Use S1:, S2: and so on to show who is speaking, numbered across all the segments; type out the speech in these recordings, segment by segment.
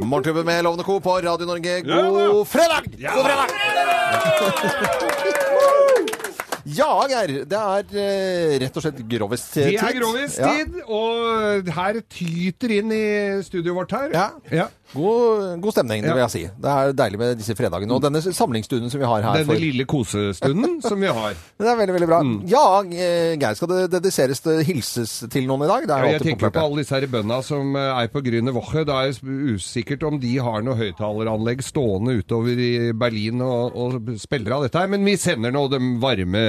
S1: Morgenklubben med Lovende Co. på Radio Norge,
S2: Ja, ja.
S1: god fredag! God fredag! Ja, Geir. Det er eh, rett og slett grovest-tid.
S2: Det er grovistid, og her tyter inn i studioet vårt her.
S1: Ja. God, god stemning, det
S2: Ja. Mm.
S1: vil jeg si. Det er deilig med disse fredagene. Og denne samlingsstunden som vi har her.
S2: Denne lille Mm. kosestunden som vi har.
S1: Det er veldig, veldig bra. Ja, eh, Geir, skal det dediseres til hilses til noen i dag? Det er jo
S2: Jeg
S1: alltid
S2: tenker på
S1: populært.
S2: alle disse her bøndene som eh, er på Grüne Woche. Det er jo usikkert om de har noe høyttaleranlegg stående utover i Berlin og, og spiller av dette her, men vi sender nå de varme,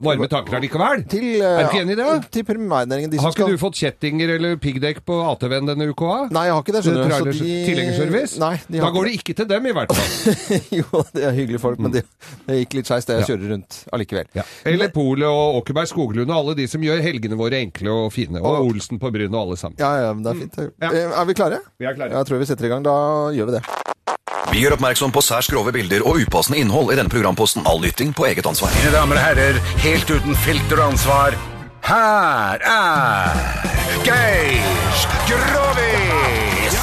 S2: varme tanker allikevel.
S1: Til, eh,
S2: er du ikke enig i det?
S1: Til primærnæringen. De som
S2: Har ikke
S1: skal-
S2: du fått kjettinger eller piggdekk på ATV-en denne uka?
S1: Nei, jeg har ikke det. skjønner du. Så
S2: Trailer-
S1: de-
S2: Tilhengerservice?
S1: Nei, de
S2: Da
S1: har
S2: går
S1: ikke
S2: det ikke til dem, i hvert fall.
S1: jo, det er hyggelige folk, men det, det gikk litt skeis, det. Jeg kjører rundt allikevel.
S2: Eller Polet og Åkerberg Skoglund og alle de som gjør helgene våre enkle og fine. Og
S1: Og-
S2: Olsen på Bryn og alle sammen.
S1: Ja, ja, men det er fint. det.
S2: Mm. Ja.
S1: Eh, Er vi klare?
S2: Vi er klare.
S1: Jeg tror vi setter i gang. Da gjør vi det.
S3: Vi gjør oppmerksom på særs grove bilder og upassende innhold i denne programposten. All lytting på eget ansvar.
S4: Mine damer og herrer, helt uten filter og ansvar, her er Geir Grovis!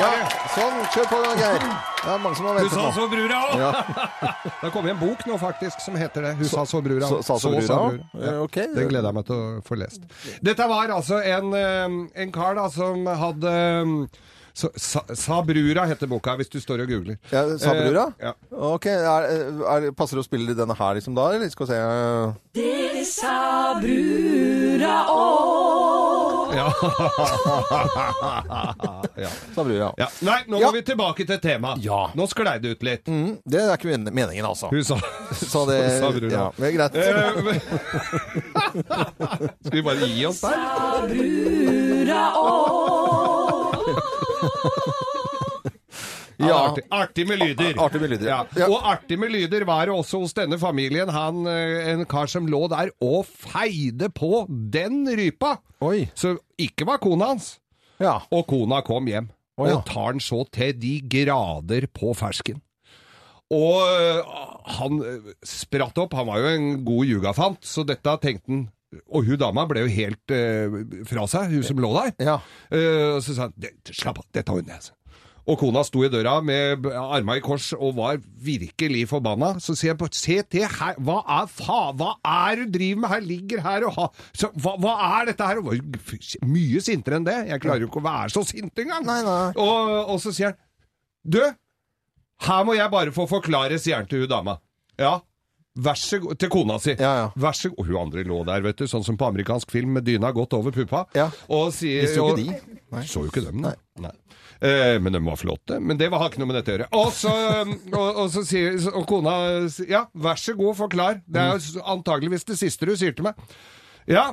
S1: Ja, sånn. Kjør på, da, Geir. Det er mange som har ventet nå.
S2: brura òg!
S1: Ja.
S2: Det kommer en bok nå faktisk som heter det. Hun sa så brura.
S1: så- sa så brura.
S2: Ja.
S1: Eh, ok.
S2: Det gleder jeg meg til å få lest. Dette var altså en, eh, en kar da som hadde eh, så, sa, sa brura heter boka, hvis du står og googler.
S1: Ja, sa brura?
S2: Eh, ja.
S1: Ok, er, er, Passer det å spille denne her liksom da, eller skal vi se
S2: ja.
S1: Sa brura.
S2: ja. Nei, nå
S1: Ja.
S2: må vi tilbake til temaet.
S1: Ja. Mm.
S2: Nå sklei det ut litt.
S1: Det er ikke men- meningen, altså.
S2: Hun sa,
S1: Sa det
S2: sa brura.
S1: Ja, det er greit.
S2: Eh, men- Skal vi bare gi oss der? Ja.
S1: Ja.
S2: Artig, artig med lyder.
S1: Ar- artig med lyder, ja.
S2: Ja. Og artig med lyder var det også hos denne familien. Han, eh, en kar som lå der og feide på den rypa,
S1: Oi.
S2: som ikke var kona hans.
S1: Ja.
S2: Og kona kom hjem
S1: Å, ja.
S2: og tar den så til de grader på fersken. Og øh, han øh, spratt opp. Han var jo en god jugafant, så dette tenkte han. Og hun dama ble jo helt øh, fra seg, hun som lå der.
S1: Ja.
S2: Eh, og så sa han "Det- slapp av, dette ordner jeg. sa han. Og kona sto i døra med b- arma i kors og var virkelig forbanna. Så sier jeg på se til her, hva er fa, hva er det du driver med her, ligger her og ha så, hva, hva er dette her? Og var jo f- mye sintere enn det. Jeg klarer jo ikke å være så sint engang.
S1: Nei, nei.
S2: Og, og så sier han du, her må jeg bare få forklare, sier han til hun dama. Ja, Vær så god, til kona si.
S1: Ja, ja.
S2: Vær så god. Hun andre lå der, vet du, sånn som på amerikansk film med dyna godt over puppa.
S1: Ja.
S2: Og sier,
S1: Visste jo
S2: og-
S1: ikke de. Nei.
S2: så jo ikke dem, nei. nei. Eh, men de var flotte. Men det var- har ikke noe med dette å gjøre. Og så, um, og, og så sier og kona sier, Ja, vær så god, forklar. Det er jo antageligvis det siste du sier til meg. Ja,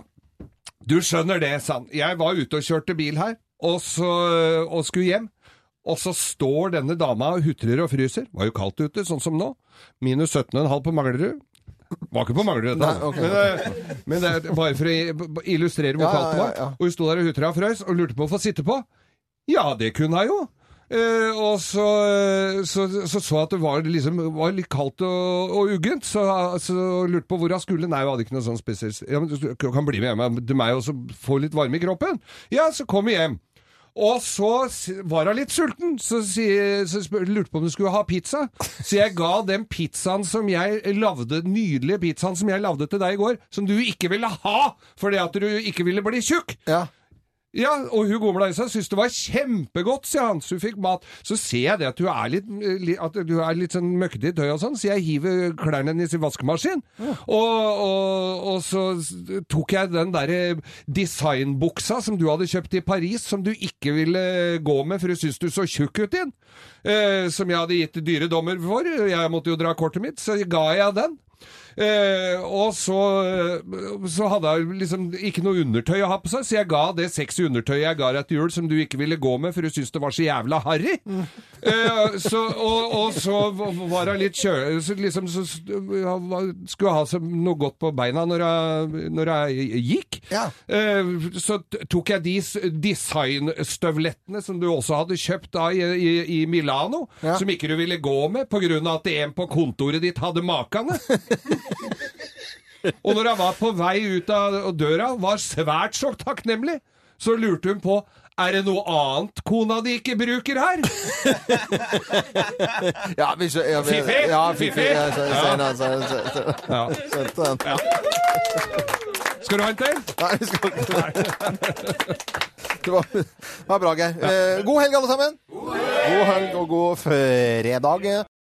S2: du skjønner det, sa han. Jeg var ute og kjørte bil her, og, så, og skulle hjem. Og så står denne dama og hutrer og fryser. Var jo kaldt ute, sånn som nå. Minus 17,5 på Manglerud. Var ikke på Manglerud, da.
S1: Nei, ok.
S2: Men, eh, men det er bare for å illustrere hvor
S1: Ja,
S2: kaldt det
S1: ja,
S2: var.
S1: ja, ja.
S2: Og hun sto der og hutra og frøs og lurte på å få sitte på. Ja, det kunne jeg jo. Eh, og så eh, så, så så at det var, liksom, var litt kaldt og, og uggent, så, så lurte på hvor jeg skulle. Nei, jeg hadde ikke noe sånn spesielt. Ja, men du kan bli med hjem til meg og så få litt varme i kroppen. Ja, så kom vi hjem. Og så s- var hun litt sulten, så, sier- så spør, lurte på om hun skulle ha pizza. Så jeg ga den pizzaen som jeg lavde, nydelige pizzaen som jeg lagde til deg i går, som du ikke ville ha fordi at du ikke ville bli tjukk.
S1: ja.
S2: Ja, og hun gomla i seg, syntes det var kjempegodt, sier han, så hun fikk mat. Så ser jeg det at hun er litt, eh, li- at du er litt sånn møkkete i tøy og sånn, så jeg hiver klærne hennes i vaskemaskinen. Og, og, og så s- tok jeg den derre designbuksa som du hadde kjøpt i Paris, som du ikke ville eh, gå med, for hun syntes du så tjukk ut i den, eh, som jeg hadde gitt dyre dommer for. Jeg måtte jo dra kortet mitt, så ga jeg den. Eh, og så, eh, så hadde jeg liksom ikke noe undertøy å ha på seg, så jeg ga det sexy undertøyet jeg ga deg til jul som du ikke ville gå med, for du syntes det var så jævla harry. Eh, så, og, og så var hun litt kjø... Så liksom, så, skulle ha seg noe godt på beina når jeg, når jeg gikk.
S1: Ja.
S2: Eh, så t- tok jeg de s- designstøvlettene som du også hadde kjøpt da i, i, i Milano,
S1: Ja.
S2: som ikke du ville gå med på grunn av at en på kontoret ditt hadde makene. Og når hun var på vei ut av døra, var svært så takknemlig. Så lurte hun på Er det noe annet kona di ikke bruker her?
S1: Ja, hvis, ja, vi-
S2: Fifi!
S1: Ja, Fifi!
S2: Fifi!
S1: Ja, så- så- så- så- så- så- Skjønte
S2: Ja.
S1: den.
S2: Skal du ha en til?
S1: Nei, vi skal ikke Det var, det var bra, Geir. Eh, god helg, alle sammen. God helg og god fredag.